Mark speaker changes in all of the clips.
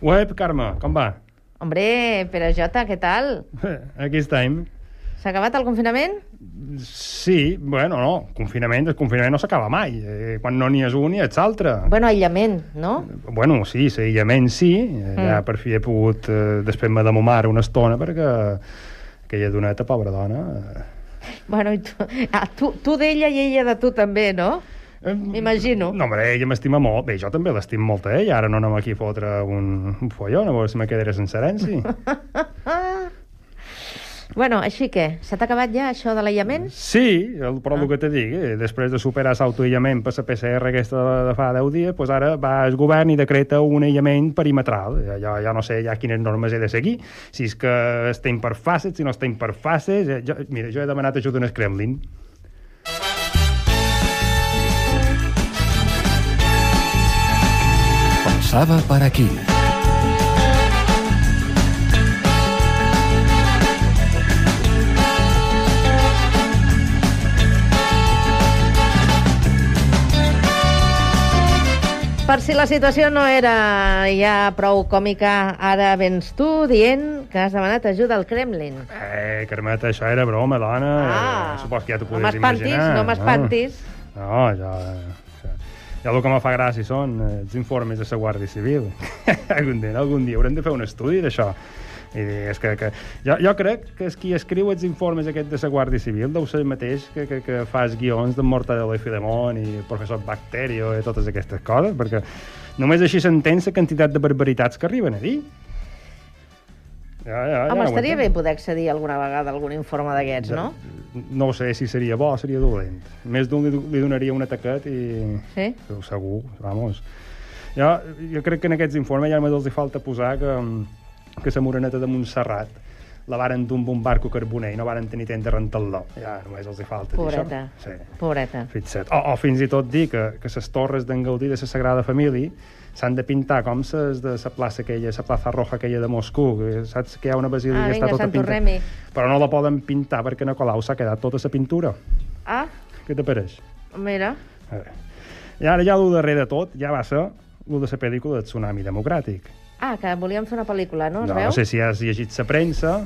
Speaker 1: Web, Carme, com va?
Speaker 2: Hombre, Pere Jota, què tal?
Speaker 1: Aquí estem.
Speaker 2: S'ha acabat el confinament?
Speaker 1: Sí, bueno, no, confinament, desconfinament no s'acaba mai. Eh, quan no n'hi és un, n'hi ets l'altre.
Speaker 2: Bueno, aïllament, no?
Speaker 1: Bueno, sí, seguidament sí. Mm. Ja per fi he pogut eh, desfer-me de ma mare una estona perquè aquella doneta, pobra dona... eh,
Speaker 2: Bueno, i tu, ah, tu, tu d'ella i ella de tu també, no?
Speaker 1: eh,
Speaker 2: M'imagino.
Speaker 1: No, home, ella m'estima molt. Bé, jo també l'estimo molt a ella. Ara no anem aquí a fotre un, un follón, a veure si me quedaré sense herència.
Speaker 2: Bueno, així que, s'ha acabat ja això de l'aïllament?
Speaker 1: Sí, el, però
Speaker 2: Ah.
Speaker 1: el que te dic, eh, després de superar l'autoaïllament per la PCR aquesta de, de fa 10 dies, doncs ara va el govern i decreta un aïllament perimetral. Ja, ja, ja no sé ja quines normes he de seguir, si és que estem per fases, si no estem per fases... Eh, jo, mira, jo he demanat ajuda en el Kremlin.
Speaker 3: Pasaba para aquí.
Speaker 2: Per si la situació no era ja prou còmica, ara vens tu dient que has demanat ajuda al Kremlin.
Speaker 1: Eh, Carmeta, això era broma, dona.
Speaker 2: Ah.
Speaker 1: eh, supos que ja t'ho
Speaker 2: No
Speaker 1: podies
Speaker 2: m'espantis,
Speaker 1: imaginar.
Speaker 2: no m'espantis.
Speaker 1: No, ja... ja- Ja el que me fa gràcia són eh, els informes de la Guàrdia Civil. algun, dia, algun dia haurem de fer un estudi d'això. I és que, que... Jo, jo crec que és qui escriu els informes aquests de la Guàrdia Civil deu ser el mateix que, que, que fa els guions de Mortadelo i Filemón i el professor Bacterio i totes aquestes coses, perquè només així s'entén la quantitat de barbaritats que arriben a dir. Ja, Ah, ja, ja,
Speaker 2: Home,
Speaker 1: ho
Speaker 2: estaria
Speaker 1: entenc.
Speaker 2: bé poder accedir alguna vegada a algun informe d'aquests, no?
Speaker 1: No ho sé si seria bo o seria dolent. Més d'un li, li donaria un atacat i...
Speaker 2: Sí?
Speaker 1: Segur, vamos. Jo, jo crec que en aquests informes ja només els hi falta posar que, mm, que la moreneta de Montserrat la varen d'un un barco carboner i no varen tenir temps de rentar-lo. Ja només els hi falta
Speaker 2: Pobreta.
Speaker 1: dir això. Sí.
Speaker 2: Pobreta.
Speaker 1: Fixa't. O, o fins i tot dir que, que les torres d'en Gaudí de la Sagrada Família s'han de pintar com ses de la plaça aquella, la plaça roja aquella de Moscou, que saps que hi ha una basílica
Speaker 2: Ah,
Speaker 1: que està
Speaker 2: vinga,
Speaker 1: tota pintada.
Speaker 2: Santorremi.
Speaker 1: Però no la poden pintar perquè a Colau s'ha quedat tota la pintura.
Speaker 2: Ah,
Speaker 1: Què t'apareix?
Speaker 2: mira.
Speaker 1: A veure. I ara ja el darrer de tot ja va ser el de la pel·lícula de Tsunami Democràtic.
Speaker 2: Ah, que volíem fer una pel·lícula, no? Es
Speaker 1: no,
Speaker 2: veu?
Speaker 1: no sé si has llegit la premsa,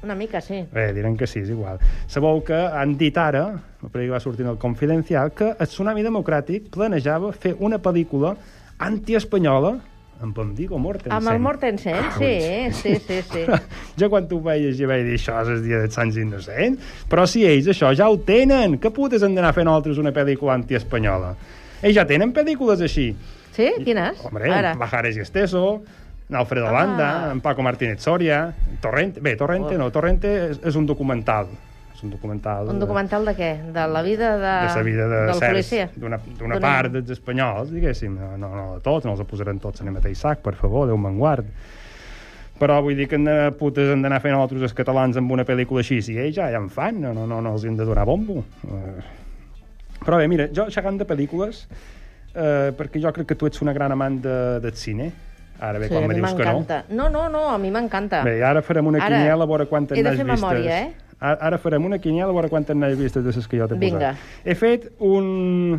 Speaker 2: Una mica, sí.
Speaker 1: Bé, diran que sí, és igual. Sabeu que han dit ara, la pel·lícula va sortir en el Confidencial, que el Tsunami Democràtic planejava fer una pel·lícula antiespanyola amb en Viggo Mortensen. Ah,
Speaker 2: Amb el Mortensen, sí, sí, sí, sí.
Speaker 1: Jo quan tu ho veies ja vaig dir això és el dia dels Sants Innocents, però si ells això ja ho tenen, que putes han d'anar fent altres una pel·lícula antiespanyola? Ells ja tenen pel·lícules així.
Speaker 2: Sí? Quines?
Speaker 1: Hombre,
Speaker 2: Ara.
Speaker 1: Bajares y Esteso, en Alfredo
Speaker 2: Ah.
Speaker 1: Landa, en Paco Martínez Soria, Torrente... Bé, Torrente no, Torrente és, és un documental. És un documental...
Speaker 2: Oh. Un
Speaker 1: de-
Speaker 2: documental de què? De la vida de...
Speaker 1: de la vida de
Speaker 2: del
Speaker 1: certs,
Speaker 2: policia?
Speaker 1: d'una d'una part dels espanyols, diguéssim, no, no, no de tots, no els posarem tots en el mateix sac, per favor, Déu me'n guard. Però vull dir que en eh, putes han d'anar fent altres els catalans amb una pel·lícula així, si ells ja, ja en fan, no, no, no, no els hi hem de donar bombo. Eh, Però bé, mira, jo xerrant de pel·lícules, eh, perquè jo crec que tu ets una gran amant de, del cine, ara bé,
Speaker 2: Sí,
Speaker 1: quan
Speaker 2: a
Speaker 1: me
Speaker 2: mi
Speaker 1: dius que no.
Speaker 2: m'encanta. No, no, no, a mi m'encanta.
Speaker 1: Bé, i ara farem una
Speaker 2: Ara,
Speaker 1: quiniela a veure quantes
Speaker 2: he de
Speaker 1: n'has
Speaker 2: fer
Speaker 1: vistes.
Speaker 2: memòria, eh?
Speaker 1: Ara, ara farem una quiniela a veure quantes n'has vistes de les que jo t'he posat.
Speaker 2: Vinga.
Speaker 1: He fet un,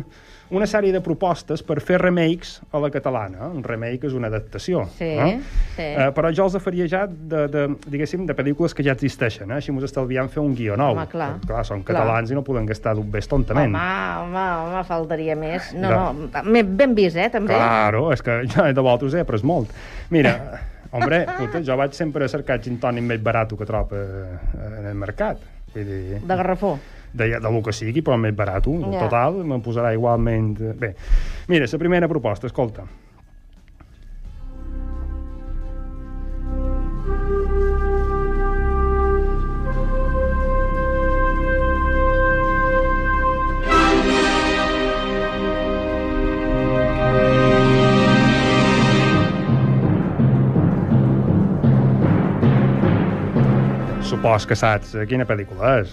Speaker 1: una sèrie de propostes per fer remakes a la catalana. Un remake és una adaptació.
Speaker 2: Sí, sí.
Speaker 1: Eh, però jo els faria ja de, de, diguéssim, de pel·lícules que ja existeixen. Eh? Així mos estalviem fer un guió nou.
Speaker 2: Home, clar.
Speaker 1: Perquè, clar són
Speaker 2: Clar.
Speaker 1: catalans i no poden gastar d'un bes tontament.
Speaker 2: Home, home, home, faltaria més. No,
Speaker 1: Ja.
Speaker 2: no, m'he ben vist, eh, també.
Speaker 1: Claro, és que ja de volta us he après molt. Mira, hombre, puta, jo vaig sempre a cercar gin tònic més barat que trobo eh, en el mercat. Vull dir,
Speaker 2: De Garrafó.
Speaker 1: de, de lo que sigui, però més barat. Yeah.
Speaker 2: Ja.
Speaker 1: Total, me'n posarà igualment... eh, Bé, mira, la primera proposta, escolta. Supos que saps eh, quina pel·lícula és.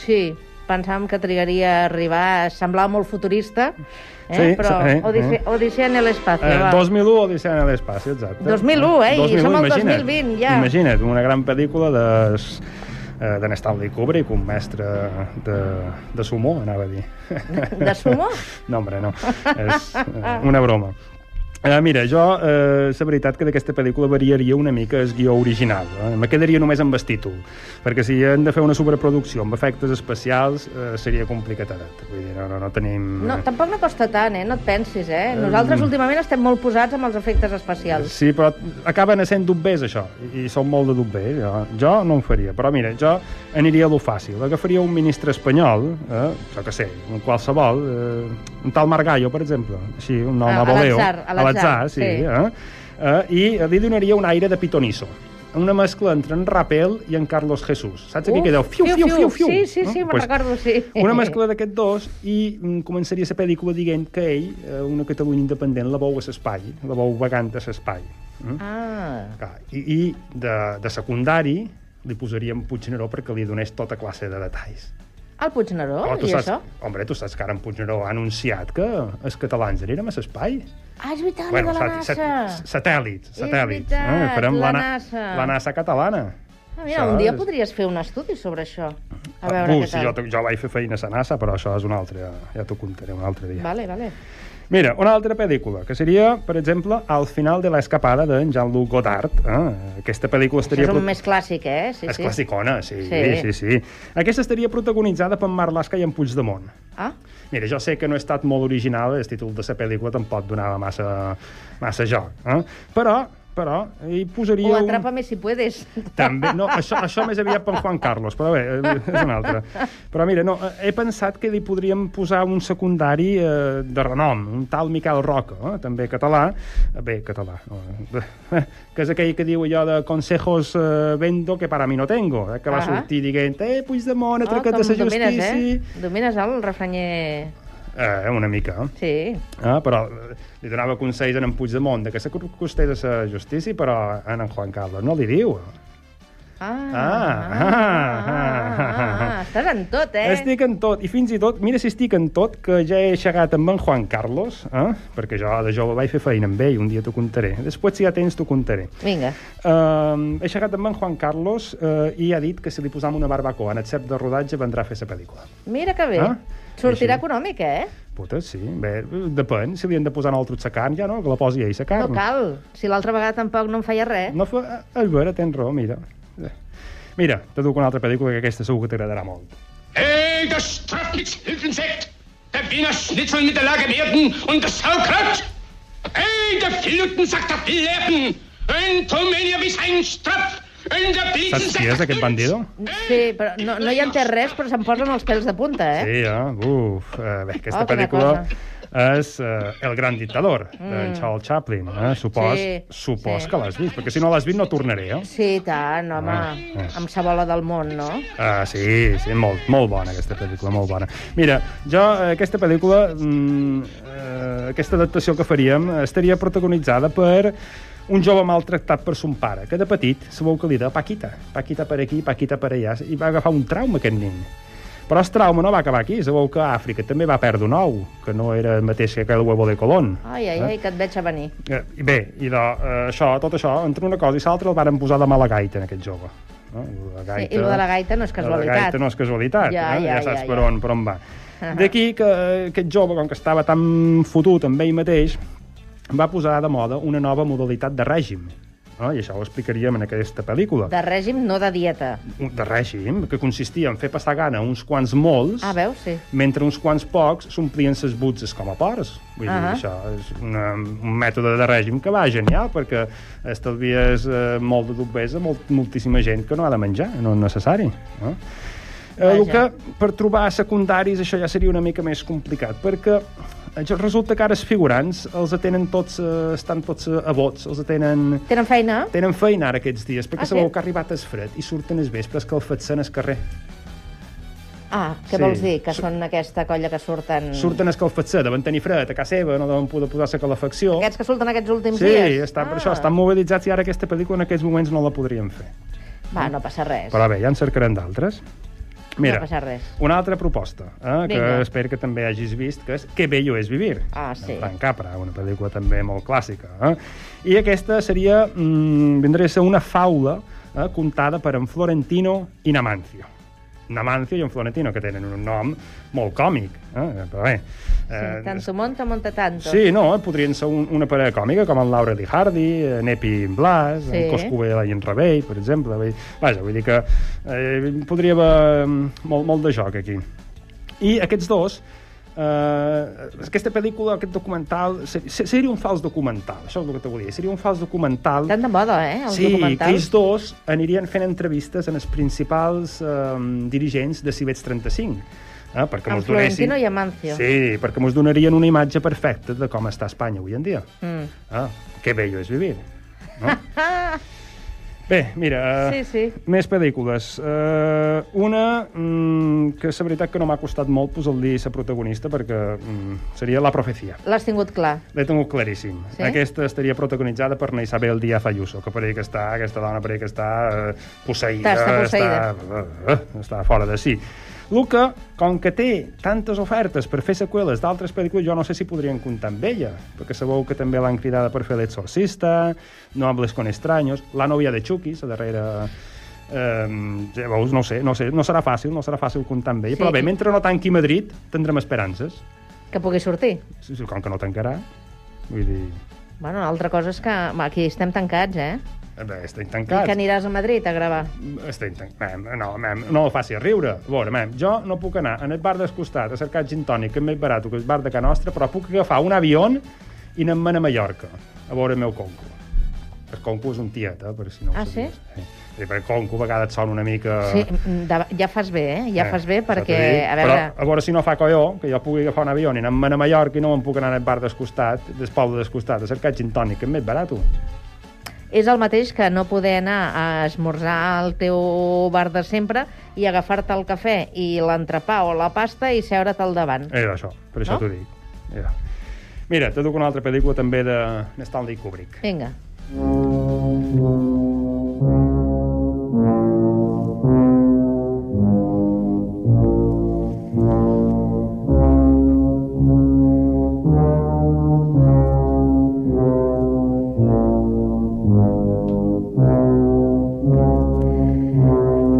Speaker 2: Sí, pensàvem que trigaria a arribar, semblava molt futurista, eh?
Speaker 1: Sí,
Speaker 2: però
Speaker 1: sí, eh,
Speaker 2: Odisse...
Speaker 1: eh.
Speaker 2: Odissea en el espacio,
Speaker 1: Eh,
Speaker 2: va.
Speaker 1: 2001, Odissea en l'espaci, exacte.
Speaker 2: 2001, eh, i som al
Speaker 1: imagina't.
Speaker 2: 2020, ja.
Speaker 1: Imagina't, una gran pel·lícula de eh, de Stanley Kubrick, un mestre de, de sumo, anava a dir.
Speaker 2: De sumo?
Speaker 1: No, hombre, no. És eh, una broma. Eh, mira, jo, eh, la veritat que d'aquesta pel·lícula variaria una mica el guió original. Eh? Me quedaria només amb el títol, perquè si hem de fer una sobreproducció amb efectes especials eh, seria complicadet. Vull dir, no, no, no tenim...
Speaker 2: No, tampoc no costa tant, eh? No et pensis, eh? Nosaltres últimament estem molt posats amb els efectes especials.
Speaker 1: Sí, però acaben sent dubbers, això, i, i són molt de dubbers. Jo, jo no ho faria, però mira, jo aniria a lo fàcil. Agafaria un ministre espanyol, eh, jo què sé, un qualsevol, eh, un tal Margallo, per exemple, així, un nom
Speaker 2: Ah,
Speaker 1: a voleo.
Speaker 2: a l'atzar, a l'atzar,
Speaker 1: sí.
Speaker 2: sí.
Speaker 1: Eh, eh, I li donaria un aire de pitoniso una mescla entre en Rapel i en Carlos Jesús. Saps aquí
Speaker 2: Uf,
Speaker 1: que deu fiu, fiu, fiu, fiu.
Speaker 2: Sí, sí,
Speaker 1: Eh?
Speaker 2: sí, me'n
Speaker 1: Pues
Speaker 2: recordo, sí.
Speaker 1: Una mescla d'aquests dos i mm, començaria la pel·lícula dient que ell, eh, una Catalunya independent, la veu a l'espai, la veu vagant a l'espai. Mm?
Speaker 2: Ah,
Speaker 1: Clar, I, i de, de secundari li posaríem Puigneró perquè li donés tota classe de detalls.
Speaker 2: el Puigneró
Speaker 1: Però tu
Speaker 2: i
Speaker 1: saps,
Speaker 2: això?
Speaker 1: Hombre, tu saps que ara en Puigneró ha anunciat que els catalans anirem a l'espai.
Speaker 2: Ah, és veritat, bueno, de la
Speaker 1: sat-
Speaker 2: NASA.
Speaker 1: sat- satèl·lits,
Speaker 2: És
Speaker 1: satèl·lits. eh?
Speaker 2: veritat,
Speaker 1: Farem
Speaker 2: la
Speaker 1: la, na-
Speaker 2: NASA.
Speaker 1: la NASA catalana.
Speaker 2: Ah, mira, un dia
Speaker 1: saps?
Speaker 2: podries fer un estudi sobre això. A
Speaker 1: Ah,
Speaker 2: veure
Speaker 1: uh,
Speaker 2: què
Speaker 1: sí,
Speaker 2: tal.
Speaker 1: jo, jo vaig fer feina a la NASA, però això és un altre... Ja t'ho contaré un altre dia.
Speaker 2: Vale, vale.
Speaker 1: Mira, una altra pel·lícula, que seria, per exemple, Al final de l'escapada d'en Jean-Luc Godard. Eh? Aquesta pel·lícula
Speaker 2: Això
Speaker 1: estaria...
Speaker 2: és un
Speaker 1: pro-
Speaker 2: més clàssic, eh? Sí,
Speaker 1: És
Speaker 2: sí.
Speaker 1: classicona, sí, sí, sí,
Speaker 2: Sí.
Speaker 1: sí. Aquesta estaria protagonitzada per Marc Lasca i en Puigdemont.
Speaker 2: Ah,
Speaker 1: Mira, jo sé que no he estat molt original, el títol de la pel·lícula tampoc donava massa, massa joc, eh? però, però, hi posaria...
Speaker 2: o
Speaker 1: un-
Speaker 2: atrapa-me si puedes.
Speaker 1: també, no, això, això més aviat per Juan Carlos, però bé, eh, és un altre. Però mira, no, eh, he pensat que li podríem posar un secundari eh, de renom, un tal Miquel Roca, eh, també català, eh, bé, català, no, eh, que és aquell que diu allò de consejos eh, vendo que para mí no tengo, eh, que va
Speaker 2: Ahà.
Speaker 1: sortir dient, eh, Puigdemont, ha
Speaker 2: Oh,
Speaker 1: trucat de la
Speaker 2: domines,
Speaker 1: justícia...
Speaker 2: eh? Domines el refranyer...
Speaker 1: Eh, una mica, eh?
Speaker 2: Sí.
Speaker 1: Ah, però eh, li donava consells a en Puigdemont de que s'acostés a la justícia, però a en Juan Carlos no li diu. eh.
Speaker 2: Ah,
Speaker 1: Ah, ah, ah, ah.
Speaker 2: Estàs en tot, eh?
Speaker 1: Estic en tot, i fins i tot, mira si estic en tot, que ja he aixegat amb en Juan Carlos, eh? perquè jo de jove vaig fer feina amb ell, un dia t'ho contaré. Després, si ja tens, t'ho contaré.
Speaker 2: Vinga.
Speaker 1: Uh, he aixecat amb en Juan Carlos eh, i ha dit que si li posam una barbacoa en el cep de rodatge vendrà a fer la pel·lícula.
Speaker 2: Mira que bé.
Speaker 1: Ah,
Speaker 2: Sortirà
Speaker 1: així.
Speaker 2: econòmic, eh?
Speaker 1: Puta, sí, bé, depèn, si li han de posar en altre la carn, ja no, que la posi ell la
Speaker 2: No
Speaker 1: carn.
Speaker 2: cal. Si l'altra vegada tampoc no em feia res.
Speaker 1: Ah. No fa... És vera, tens raó, mira. Eh, Mira, te duc una altra pel·lícula que aquesta segur que t'agradarà molt.
Speaker 3: Hey, das Strafnitzhilfensekt! Der Wiener Schnitzel mit der Lagerwerten und das Saukraut! Hey, der Flutensack der Flippen! Ein Tomenia bis ein Strapf! Ein der
Speaker 1: Saps
Speaker 3: Blitzensack
Speaker 1: qui és
Speaker 3: der
Speaker 1: aquest
Speaker 3: Pilz.
Speaker 1: bandido?
Speaker 2: Sí, però no, no hi entès res, però se'n posen els pèls de punta, eh?
Speaker 1: Sí, eh? Uf, eh, bé, aquesta
Speaker 2: Oh, quina
Speaker 1: pel·lícula
Speaker 2: cosa. Mm.
Speaker 1: és eh, El gran dictador, d'en Charles Chaplin. Eh? Supos,
Speaker 2: Sí,
Speaker 1: supos
Speaker 2: sí.
Speaker 1: que l'has vist, perquè si no l'has vist no tornaré, eh?
Speaker 2: Sí, i tant, home.
Speaker 1: Ah, ah.
Speaker 2: Amb sa bola del món, no?
Speaker 1: Ah, sí, sí, molt, molt bona aquesta pel·lícula, molt bona. Mira, jo eh, aquesta pel·lícula, mm, eh, aquesta adaptació que faríem, eh, estaria protagonitzada per un jove maltractat per son pare, que de petit se veu que li deia Paquita, Paquita per aquí, Paquita per allà, i va agafar un trauma aquest nen. Però el trauma no va acabar aquí, se veu que a Àfrica també va perdre un ou, que no era el mateix que aquell huevo de Colón.
Speaker 2: Ai, ai,
Speaker 1: Ah.
Speaker 2: ai, que et veig a venir.
Speaker 1: Eh, i bé, i de, eh, això, tot això, entre una cosa i l'altra el varen posar de mala gaita en aquest jove. No? Lo de
Speaker 2: Sí, i lo de la gaita no és
Speaker 1: La
Speaker 2: casualitat.
Speaker 1: gaita no és casualitat,
Speaker 2: Ja,
Speaker 1: eh?
Speaker 2: ja,
Speaker 1: ja saps
Speaker 2: ja,
Speaker 1: per
Speaker 2: ja.
Speaker 1: on, per on va.
Speaker 2: Ahà.
Speaker 1: D'aquí que eh, aquest jove, com que estava tan fotut amb ell mateix, va posar de moda una nova modalitat de règim. No? I això ho explicaríem en aquesta pel·lícula.
Speaker 2: De règim, no de dieta.
Speaker 1: Un- de règim, que consistia en fer passar gana uns quants molts,
Speaker 2: Ah, veus? Sí.
Speaker 1: mentre uns quants pocs s'omplien ses butxes com a porcs. Vull dir,
Speaker 2: Ah.
Speaker 1: això és una, un mètode de règim que va genial, perquè estalvies eh, molt de dubbers a molt, moltíssima gent que no ha de menjar, no és necessari. No? Eh, el que
Speaker 2: Vaja.
Speaker 1: per trobar secundaris això ja seria una mica més complicat, perquè eh, jo- resulta que ara els figurants els atenen tots, eh, estan tots eh, a bots, els atenen
Speaker 2: Tenen feina?
Speaker 1: Tenen feina ara aquests dies, perquè
Speaker 2: Ah,
Speaker 1: ah,
Speaker 2: sí?
Speaker 1: sabeu que ha arribat el fred i surten els vespres que el fatsen al carrer.
Speaker 2: Ah, què
Speaker 1: Sí.
Speaker 2: vols dir? Que
Speaker 1: Su-
Speaker 2: són aquesta colla que surten...
Speaker 1: Surten escalfats-se, deuen tenir fred a casa seva, no deuen poder posar-se calefacció.
Speaker 2: Aquests que surten aquests últims
Speaker 1: Sí,
Speaker 2: dies?
Speaker 1: està,
Speaker 2: ah.
Speaker 1: per això estan mobilitzats i ara aquesta pel·lícula en aquests moments no la podríem fer.
Speaker 2: Va, no passa res.
Speaker 1: Però bé, ja en cercarem d'altres. Mira,
Speaker 2: passa res.
Speaker 1: una altra proposta, eh, que
Speaker 2: Vinga.
Speaker 1: espero que també hagis vist, que és Que bello és vivir.
Speaker 2: Ah, sí.
Speaker 1: En Frank Capra, una pel·lícula també molt clàssica. Eh? I aquesta seria, mm, vindria a ser una faula eh, contada per en Florentino i Namancio. Namancio i un Florentino, que tenen un nom molt còmic. Eh? Però bé...
Speaker 2: Sí,
Speaker 1: és-
Speaker 2: tanto monta, monta tanto.
Speaker 1: Sí, no, eh, podrien ser un, una parella còmica, com en Laura Di Hardy, eh, Nepi Blas, sí.
Speaker 2: Sí.
Speaker 1: en Coscovella i en Rebell, per exemple. Vull, vaja, vull dir que eh, podria haver mm, molt, molt de joc aquí. I aquests dos, eh, aquesta pel·lícula, aquest documental, se- se- seria un fals documental, això és el que te volia dir, seria un fals documental
Speaker 2: Tan de moda, eh, els
Speaker 1: sí, que
Speaker 2: documentals.
Speaker 1: ells dos anirien fent entrevistes en els principals eh, dirigents de Cibets 35. Eh, perquè
Speaker 2: En
Speaker 1: mos donessin...
Speaker 2: Florentino i Amancio.
Speaker 1: Sí, perquè mos donarien una imatge perfecta de com està Espanya avui en dia.
Speaker 2: Mm. Ah,
Speaker 1: Ah, que bello és vivir. No? Bé, mira, eh,
Speaker 2: Sí, sí.
Speaker 1: més pel·lícules. Eh, una mm, que és la veritat que no m'ha costat molt posar el dir la protagonista perquè mm, seria La profecia.
Speaker 2: L'has tingut clar.
Speaker 1: L'he tingut claríssim.
Speaker 2: Sí?
Speaker 1: Sí? Aquesta estaria protagonitzada per na Isabel Díaz Ayuso, que per ahí que està, aquesta dona per ahí que està eh, posseïda,
Speaker 2: Està- està
Speaker 1: està, eh, està fora de si. Luca, com que té tantes ofertes per fer seqüeles d'altres pel·lícules, jo no sé si podrien comptar amb ella, perquè sabeu que també l'han cridada per fer l'exorcista, No hables con extraños, la novia de Chucky, la darrera... Eh, ja veus, no ho sé, no ho sé, no serà fàcil, no serà fàcil comptar amb ella,
Speaker 2: Sí.
Speaker 1: sí. però bé, mentre no tanqui Madrid, tindrem esperances.
Speaker 2: Que pugui sortir.
Speaker 1: Sí, sí, com que no tancarà, vull dir...
Speaker 2: Bueno, una altra cosa és que home, aquí estem tancats, eh?
Speaker 1: Eh, Bé, estem
Speaker 2: I que
Speaker 1: tancats.
Speaker 2: aniràs a Madrid a gravar.
Speaker 1: Estem tancats. No, mem, no el facis riure. A veure, mem, jo no puc anar en el bar del costat a cercar gin tònic, que és més barat que el bar de Can Nostra, però puc agafar un avió i anar-me'n a Mallorca a veure el meu conco. El conco és un tiet, eh, per si no ho
Speaker 2: Ah,
Speaker 1: sabies.
Speaker 2: sí?
Speaker 1: Sí. Sí, perquè el conco a vegades sona una mica...
Speaker 2: Sí, mm, de, ja fas bé, eh? Ja
Speaker 1: Ah. Eh,
Speaker 2: fas bé
Speaker 1: t'ho
Speaker 2: perquè,
Speaker 1: dic.
Speaker 2: a veure...
Speaker 1: Però, a veure si no fa colló, que jo pugui agafar un avió i anar-me'n a Mallorca i no me'n puc anar al bar del costat, del poble del costat, a cercar gin tònic, que és més barat. eh,
Speaker 2: És el mateix que no poder anar a esmorzar al teu bar de sempre i agafar-te el cafè i l'entrepà o la pasta i seure't al davant.
Speaker 1: Era això, per això no?
Speaker 2: No?
Speaker 1: t'ho dic. Era. Mira, te duc una altra pel·lícula també de Stanley Kubrick.
Speaker 2: Vinga.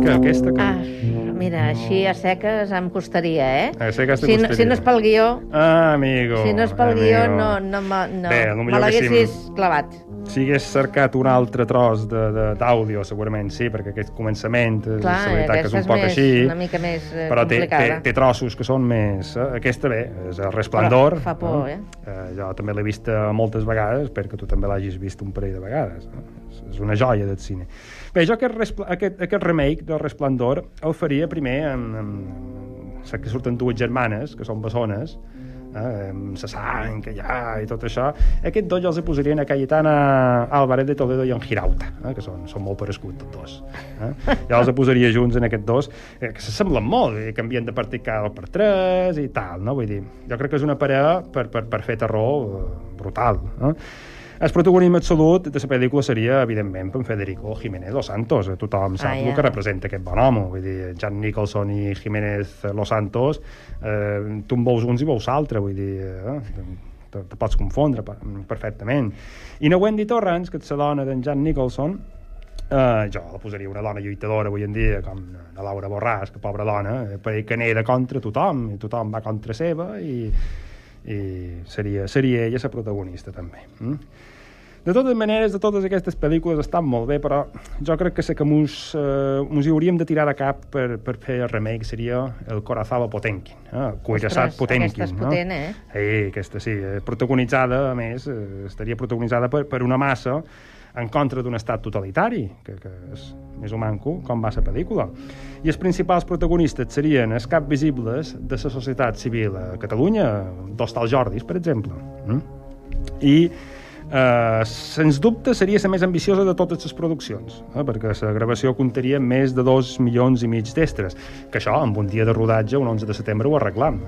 Speaker 1: Que aquesta... Que...
Speaker 2: Ah, mira, així a seques em costaria, eh?
Speaker 1: A seques te
Speaker 2: si, no,
Speaker 1: costaria.
Speaker 2: si no és pel guió,
Speaker 1: Ah, amigo.
Speaker 2: si no és pel
Speaker 1: amigo.
Speaker 2: guió, no, no, me- no,
Speaker 1: Bé, el
Speaker 2: me
Speaker 1: millor que
Speaker 2: l'haguessis
Speaker 1: sí.
Speaker 2: clavat.
Speaker 1: Si hagués cercat un altre tros de- de- d'àudio, segurament sí, perquè aquest començament, eh,
Speaker 2: Clar,
Speaker 1: la veritat que és
Speaker 2: aquesta
Speaker 1: un poc
Speaker 2: més,
Speaker 1: així,
Speaker 2: una mica més eh,
Speaker 1: però té, té,
Speaker 2: complicada.
Speaker 1: té trossos que són més... Eh? Aquesta bé, és el resplendor.
Speaker 2: Però fa por, eh?
Speaker 1: eh? Jo també l'he vista moltes vegades, perquè tu també l'hagis vist un parell de vegades. Eh? És- És una joia del cine. Bé, jo aquest, respl- aquest, aquest remake del resplendor el faria primer amb... amb Saps que surten dues germanes, que són bessones, eh, amb sa sang que hi ha i tot això. Aquest dos jo els hi posarien a Cayetana Álvarez de Toledo i en Girauta, eh, que són, són molt parescuts tots dos. Eh? Jo els hi posaria junts en aquests dos, eh, que se semblen molt, i canvien de partit cada per tres i tal, no? Vull dir, jo crec que és una parella per, per, per fer terror eh, brutal. Eh? El protagonisme absolut de la pel·lícula seria, evidentment, per Federico Jiménez Los Santos. Eh, Tothom sap
Speaker 2: Ah,
Speaker 1: ah,
Speaker 2: ja.
Speaker 1: ja. el que representa aquest bon home. Vull dir, Jan Nicholson i Jiménez Los Santos, eh, tu en veus uns i veus altres, vull dir... Eh, te, te pots confondre per- perfectament. I no Wendy Torrance, que és la dona d'en Jan Nicholson, eh, jo la posaria una dona lluitadora avui en dia, com la Laura Borràs, que pobra dona, eh, perquè que neda contra tothom, i tothom va contra seva, i, i seria, seria ella la protagonista, també. Mm? De totes maneres, de totes aquestes pel·lícules estan molt bé, però jo crec que la que mos, eh, mos hi hauríem de tirar de cap per, per fer el remake seria el Corazado Potemkin, eh? Cuirassat
Speaker 2: Ostres,
Speaker 1: Potemkin.
Speaker 2: aquesta és
Speaker 1: no?
Speaker 2: potent, eh?
Speaker 1: Sí, aquesta sí. eh, Protagonitzada, a més, eh, estaria protagonitzada per, per una massa en contra d'un estat totalitari, que, que és més o manco com va la pel·lícula. I els principals protagonistes serien els cap visibles de la societat civil a Catalunya, dos tals Jordis, per exemple. Mm? i eh, sens dubte seria la més ambiciosa de totes les produccions, eh, perquè la gravació comptaria amb més de dos milions i mig d'extres, que això, amb un dia de rodatge, un 11 de setembre, ho arreglam.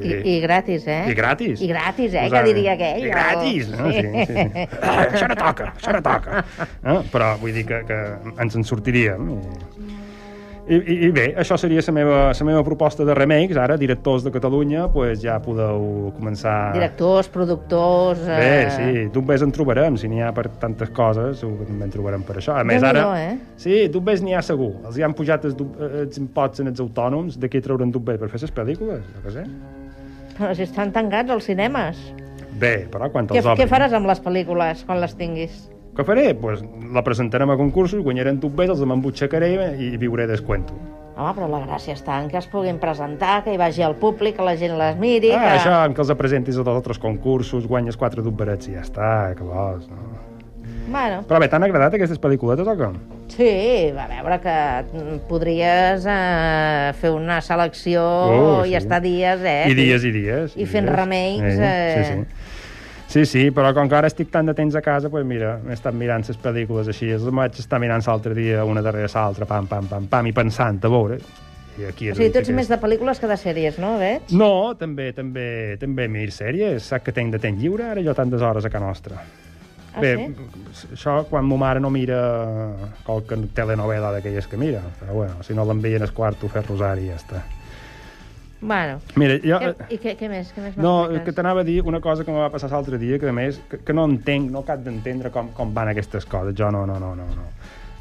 Speaker 2: I, I gratis, eh?
Speaker 1: I gratis.
Speaker 2: I gratis, eh?
Speaker 1: Us
Speaker 2: Que
Speaker 1: ha-
Speaker 2: diria aquell.
Speaker 1: I gratis. No? Sí. Sí, sí, sí. Ah, això no eh? toca, això no toca. Eh? Però vull dir que, que ens en sortiríem. I... I, i, i bé, això seria la meva, la meva proposta de remakes. Ara, directors de Catalunya, pues, ja podeu començar...
Speaker 2: Directors, productors...
Speaker 1: Bé, sí, tu ves en trobarem, si n'hi ha per tantes coses, ho- també en trobarem per això. A més, ara...
Speaker 2: Déu-n'hi-do, eh?
Speaker 1: Sí, dubbers n'hi ha segur. Els hi han pujat els, dub- eh, els impots en els autònoms, de què trauran dubbers per fer les pel·lícules, jo què sé.
Speaker 2: eh, Però si estan tancats els cinemes.
Speaker 1: Doncs Bé, però quan
Speaker 2: Què,
Speaker 1: te'ls obrin...
Speaker 2: què faràs amb les pel·lícules quan les tinguis?
Speaker 1: Què faré? Pues, la presentarem a concursos, guanyarem dubbers, els m'embutxacaré i viuré descuento.
Speaker 2: Home, però la gràcia està en que es puguin presentar, que hi vagi el públic, que la gent les miri...
Speaker 1: Ah,
Speaker 2: que...
Speaker 1: això, amb que els presentis a tots els concursos, guanyes quatre dubberets i ja està, que vols, no?
Speaker 2: Bueno,
Speaker 1: Però bé, t'han agradat aquestes pel·lículetes o com?
Speaker 2: sí, va veure que mm, podries eh, fer una selecció
Speaker 1: Oh,
Speaker 2: i
Speaker 1: sí.
Speaker 2: estar dies, eh?
Speaker 1: I dies i dies.
Speaker 2: I fent
Speaker 1: dies.
Speaker 2: remakes,
Speaker 1: Sí,
Speaker 2: eh.
Speaker 1: sí, sí. Sí, sí, però com que ara estic tant de temps a casa, doncs mira, he estat mirant les pel·lícules així, els vaig estar mirant l'altre dia una darrere l'altra, pam, pam, pam, pam, i pensant, a veure... I aquí
Speaker 2: O
Speaker 1: és
Speaker 2: sigui,
Speaker 1: on
Speaker 2: tu ets
Speaker 1: que-
Speaker 2: més de pel·lícules que de sèries, no, veig?
Speaker 1: No, també, també, també mir sèries. Saps que tenc de temps lliure, ara jo tantes hores a casa nostra.
Speaker 2: Ah,
Speaker 1: Bé,
Speaker 2: sí?
Speaker 1: això quan ma mare no mira qualque telenovela d'aquelles que mira, però bueno, si no l'envien al quarto a fer rosari i ja està.
Speaker 2: Bueno,
Speaker 1: Mira, jo...
Speaker 2: què, i què, què més? Què més
Speaker 1: eh, No, eh,
Speaker 2: m'expliques?
Speaker 1: que t'anava a dir una cosa que em va passar l'altre dia, que a més, que, que no entenc, no cap d'entendre com, com van aquestes coses. Jo no, no, no, no, no.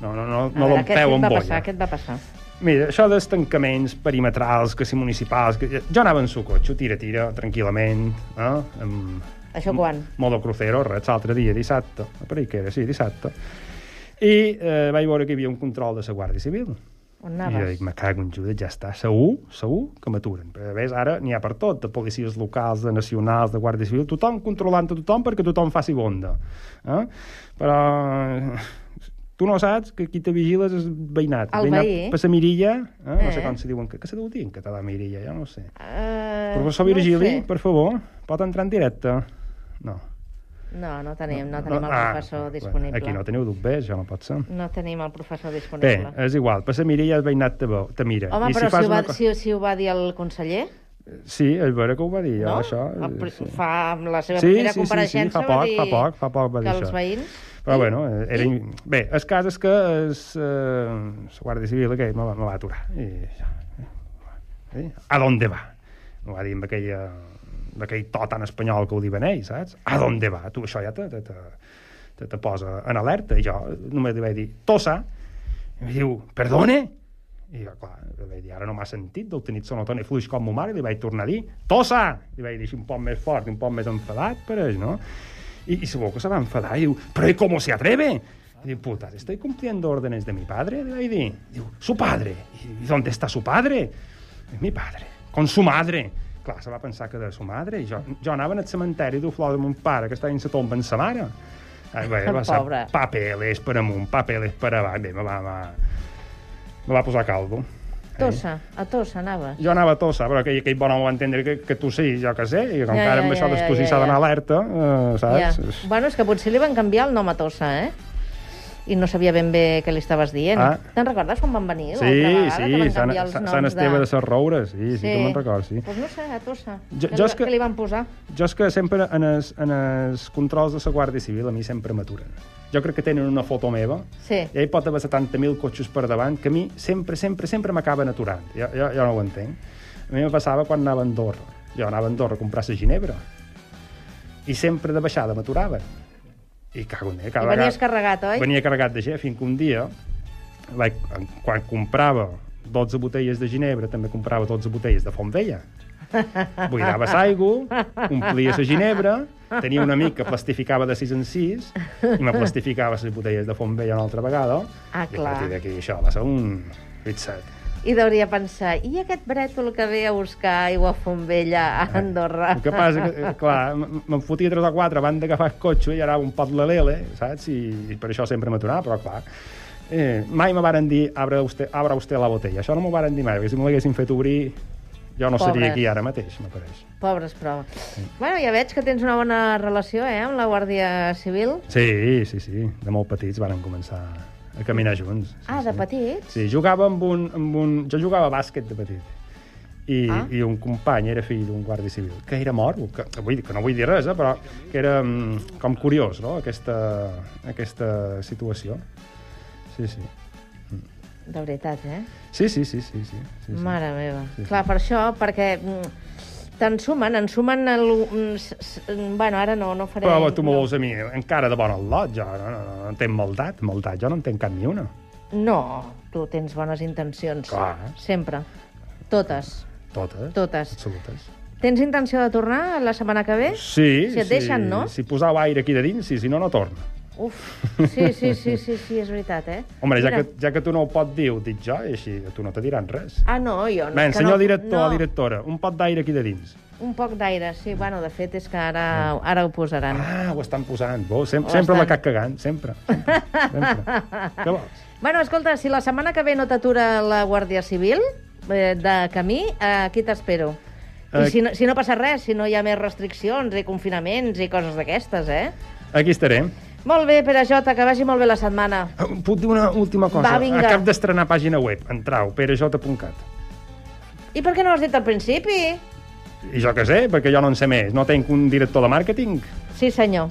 Speaker 1: No, no, no,
Speaker 2: A
Speaker 1: no
Speaker 2: veure, què-
Speaker 1: l'empeu
Speaker 2: Què et
Speaker 1: amb
Speaker 2: va
Speaker 1: boia.
Speaker 2: passar? Què et va passar?
Speaker 1: Mira, això dels tancaments perimetrals, que si municipals... Que... Jo anava en sucotxo, tira, tira, tranquil·lament, eh? amb,
Speaker 2: Això quan?
Speaker 1: modo crucero, res, l'altre dia, dissabte, per que era, sí, dissabte, i eh, vaig veure que hi havia un control de la Guàrdia Civil.
Speaker 2: On
Speaker 1: I jo
Speaker 2: anaves?
Speaker 1: dic, me cago en Judes, ja està, segur, segur que m'aturen. Però, a més, ara n'hi ha per tot, de policies locals, de nacionals, de Guàrdia Civil, tothom controlant a tothom perquè tothom faci bonda. Eh? Però eh, tu no saps que qui te vigiles és el veïnat.
Speaker 2: El
Speaker 1: veïnat
Speaker 2: veí.
Speaker 1: Per la mirilla, eh? no sé
Speaker 2: Eh.
Speaker 1: com se diuen, que, que se deu dir en català mirilla, jo no ho sé.
Speaker 2: Eh,
Speaker 1: Professor
Speaker 2: no ho
Speaker 1: Virgili,
Speaker 2: sé.
Speaker 1: per favor, pot entrar en directe? No.
Speaker 2: No, no tenim, no tenim el
Speaker 1: ah,
Speaker 2: professor
Speaker 1: bueno,
Speaker 2: disponible.
Speaker 1: Aquí no teniu dubbers, ja no pot ser.
Speaker 2: No tenim el professor
Speaker 1: Bé,
Speaker 2: disponible.
Speaker 1: és igual, passa mira i el veïnat te, veu, te mira.
Speaker 2: Home,
Speaker 1: I
Speaker 2: però si,
Speaker 1: fas
Speaker 2: ho va,
Speaker 1: una co-
Speaker 2: si, si ho va dir el conseller,
Speaker 1: Sí, és veure que ho va dir, jo,
Speaker 2: no? Ah,
Speaker 1: això.
Speaker 2: El
Speaker 1: eh,
Speaker 2: pri-
Speaker 1: sí.
Speaker 2: Fa amb la seva
Speaker 1: Sí,
Speaker 2: primera
Speaker 1: sí, sí, sí,
Speaker 2: compareixença
Speaker 1: fa poc,
Speaker 2: va dir
Speaker 1: fa poc, fa poc va dir
Speaker 2: que els
Speaker 1: això.
Speaker 2: veïns...
Speaker 1: Però, bueno, eh, era... in- Bé, el cas és que es, eh, la Guàrdia Civil aquell me va, me va aturar. I, ja, eh, a dónde va? M'ho va dir amb aquella d'aquell to tan espanyol que ho diuen ells, saps? A dónde va? Tu això ja te, te, te, te, te posa en alerta. I jo només li vaig dir, tosa. I em diu, perdone? I jo, clar, li vaig dir, ara no m'ha sentit, deu tenir sonotona i fluix com ma mare, li vaig tornar a dir, tosa! Li vaig dir així un poc més fort, un poc més enfadat, pareix, no? I, i segur que se va enfadar i diu, però i com se atreve? I diu, puta, estoy cumpliendo órdenes de mi padre, li vaig dir. Diu, su padre, ¿y dónde está su padre? És mi padre, con su madre. Clar, se va pensar que de su madre. Jo, jo anava al cementeri d'Uflor de mon pare, que estava en la tomba en sa mare. Ah, Bé, va ser
Speaker 2: Pobre.
Speaker 1: papeles per amunt, papeles per avall. Bé, me va, va, me va posar caldo. Eh?
Speaker 2: Tossa, a Tossa anaves.
Speaker 1: Jo anava a Tossa, però aquell, aquell bon home va entendre que, que tu sí, jo que sé, i com
Speaker 2: Ja,
Speaker 1: que ara
Speaker 2: ja,
Speaker 1: amb
Speaker 2: ja,
Speaker 1: això
Speaker 2: ja,
Speaker 1: d'excosir
Speaker 2: ja,
Speaker 1: s'ha d'anar
Speaker 2: ja.
Speaker 1: alerta, eh,
Speaker 2: Ja.
Speaker 1: saps?
Speaker 2: Bueno, és que potser li van canviar el nom a Tossa, eh? I no sabia ben bé què li estaves dient.
Speaker 1: Ah.
Speaker 2: Te'n recordes quan van venir?
Speaker 1: Sí,
Speaker 2: eh, l'altra vegada, que
Speaker 1: sí,
Speaker 2: van
Speaker 1: Sant,
Speaker 2: canviar els
Speaker 1: Sant-
Speaker 2: noms
Speaker 1: Sant Esteve de
Speaker 2: de...
Speaker 1: les Roures, sí, sí, sí que me'n record, sí.
Speaker 2: Pues no sé, a Tossa.
Speaker 1: Jo-
Speaker 2: Què
Speaker 1: jo
Speaker 2: li,
Speaker 1: és que-
Speaker 2: què li van posar?
Speaker 1: Jo és que sempre en els, en els controls de la Guàrdia Civil a mi sempre m'aturen. Jo crec que tenen una foto meva,
Speaker 2: Sí.
Speaker 1: i hi pot haver 70.000 cotxes per davant, que a mi sempre, sempre, sempre m'acaben aturant. Jo, jo, jo no ho entenc. A mi em passava quan anava a Andorra. Jo anava a Andorra a comprar la ginebra. I sempre de baixada m'aturaven. I cago en ell.
Speaker 2: I venies carregat, oi?
Speaker 1: Venia carregat de gent, fins que un dia, vaig, quan comprava 12 botelles de ginebra, també comprava 12 botelles de Font Vella. Buidava l'aigua, omplia la ginebra, tenia un amic que plastificava de 6 en 6 i me plastificava les botelles de Font Vella una altra vegada.
Speaker 2: Ah,
Speaker 1: I a
Speaker 2: clar.
Speaker 1: partir d'aquí això va ser un fixat.
Speaker 2: I deuria pensar, i aquest brètol que ve a buscar aigua a Fombella, a Andorra?
Speaker 1: Eh, El que passa que, eh, clar, m- me'n fotia 3 o 4 abans d'agafar el cotxe i anava un pot la lele, saps? I, i per això sempre m'aturava, però clar... Eh, mai me varen dir, abra usted, abra usted la botella. Això no m'ho varen dir mai, perquè si m'ho haguessin fet obrir, jo no
Speaker 2: Pobres.
Speaker 1: seria aquí ara mateix, m'apareix.
Speaker 2: Pobres, però... Bueno, ja veig que tens una bona relació, eh, amb la Guàrdia Civil.
Speaker 1: Sí, sí, sí. De molt petits varen començar a caminar junts. Sí,
Speaker 2: Ah, de
Speaker 1: sí.
Speaker 2: petits?
Speaker 1: Sí, jugava amb un, amb un... Jo jugava a bàsquet de petit. I, ah.
Speaker 2: Ah.
Speaker 1: i un company era fill d'un guàrdia civil, que era mort, que, que, vull, dir- que no vull dir res, eh, però que era mm, com curiós, no?, aquesta, aquesta situació. Sí, sí.
Speaker 2: de veritat, eh?
Speaker 1: Sí, sí, sí, sí. sí, sí, sí.
Speaker 2: Mare meva.
Speaker 1: Sí, sí.
Speaker 2: Clar, per això, perquè mm, te'n sumen, en sumen... El, mm, s- s- bueno, ara no, no faré...
Speaker 1: Però tu m'ho
Speaker 2: no.
Speaker 1: vols a mi, encara de bona lot, jo no, no, no, no entenc maldat, maldat, jo no entenc cap ni una.
Speaker 2: No, tu tens bones intencions.
Speaker 1: Clar. eh?
Speaker 2: Sempre. Totes,
Speaker 1: Totes.
Speaker 2: totes.
Speaker 1: Absolutes.
Speaker 2: Tens intenció de tornar la setmana que ve?
Speaker 1: Sí,
Speaker 2: Si et deixen, no?
Speaker 1: Si posau aire aquí de dins, sí, si no, no torna.
Speaker 2: Uf, sí, sí, sí, sí, sí, és veritat, eh?
Speaker 1: Home, ja
Speaker 2: Mira.
Speaker 1: que, ja que tu no ho pot dir, ho dic jo, i així a tu no te diran res.
Speaker 2: Ah, no, jo no.
Speaker 1: Ben,
Speaker 2: és que
Speaker 1: senyor
Speaker 2: no,
Speaker 1: director,
Speaker 2: no,
Speaker 1: no. directora, un pot d'aire aquí de dins.
Speaker 2: Un poc d'aire, sí, bueno, de fet és que ara, ara ho posaran.
Speaker 1: Ah, ho estan posant. Bo, sem
Speaker 2: Ho
Speaker 1: sempre
Speaker 2: estan.
Speaker 1: la cac cagant, sempre. sempre, sempre. Què vols?
Speaker 2: Bueno, escolta, si la setmana que ve no t'atura la Guàrdia Civil eh, de camí, eh, aquí t'espero. I
Speaker 1: Eh,
Speaker 2: si no, si no passa res, si no hi ha més restriccions i confinaments i coses d'aquestes, eh?
Speaker 1: Aquí estarem.
Speaker 2: Molt bé, Pere Jota, que vagi molt bé la setmana.
Speaker 1: Ah, Puc dir una última cosa?
Speaker 2: Va, vinga.
Speaker 1: Acab d'estrenar pàgina web. Entrau, perejota.cat.
Speaker 2: I per què no ho has dit al principi?
Speaker 1: I jo què sé, perquè jo no en sé més. No tenc un director de màrqueting.
Speaker 2: Sí, senyor.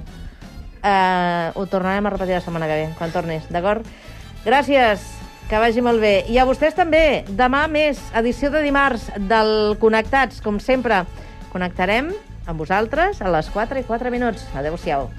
Speaker 2: Uh, ho tornarem a repetir la setmana que ve, quan tornis, d'acord? Gràcies, que vagi molt bé. I a vostès també, demà més, edició de dimarts del Connectats, com sempre. Connectarem amb vosaltres a les 4 i 4 minuts. Adéu-siau.